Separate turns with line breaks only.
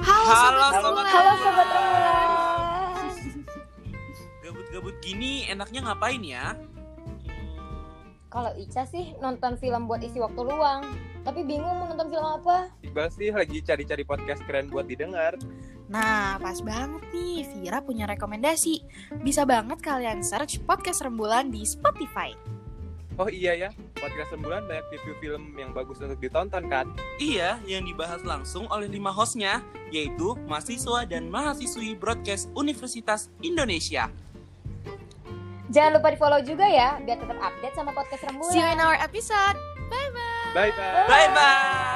Halo,
Sobat
Sobat
Remula.
Halo sobat Remula.
Gabut-gabut gini enaknya ngapain ya?
Kalau Ica sih nonton film buat isi waktu luang, tapi bingung mau nonton film apa.
Iqbal sih lagi cari-cari podcast keren buat didengar.
Nah, pas banget nih, Vira punya rekomendasi. Bisa banget kalian search podcast Rembulan di Spotify.
Oh iya ya, podcast sembulan banyak review film yang bagus untuk ditonton kan?
Iya, yang dibahas langsung oleh lima hostnya, yaitu mahasiswa dan mahasiswi broadcast Universitas Indonesia.
Jangan lupa di follow juga ya, biar tetap update sama podcast Rembulan.
See you in our episode. Bye-bye.
Bye bye.
Bye-bye!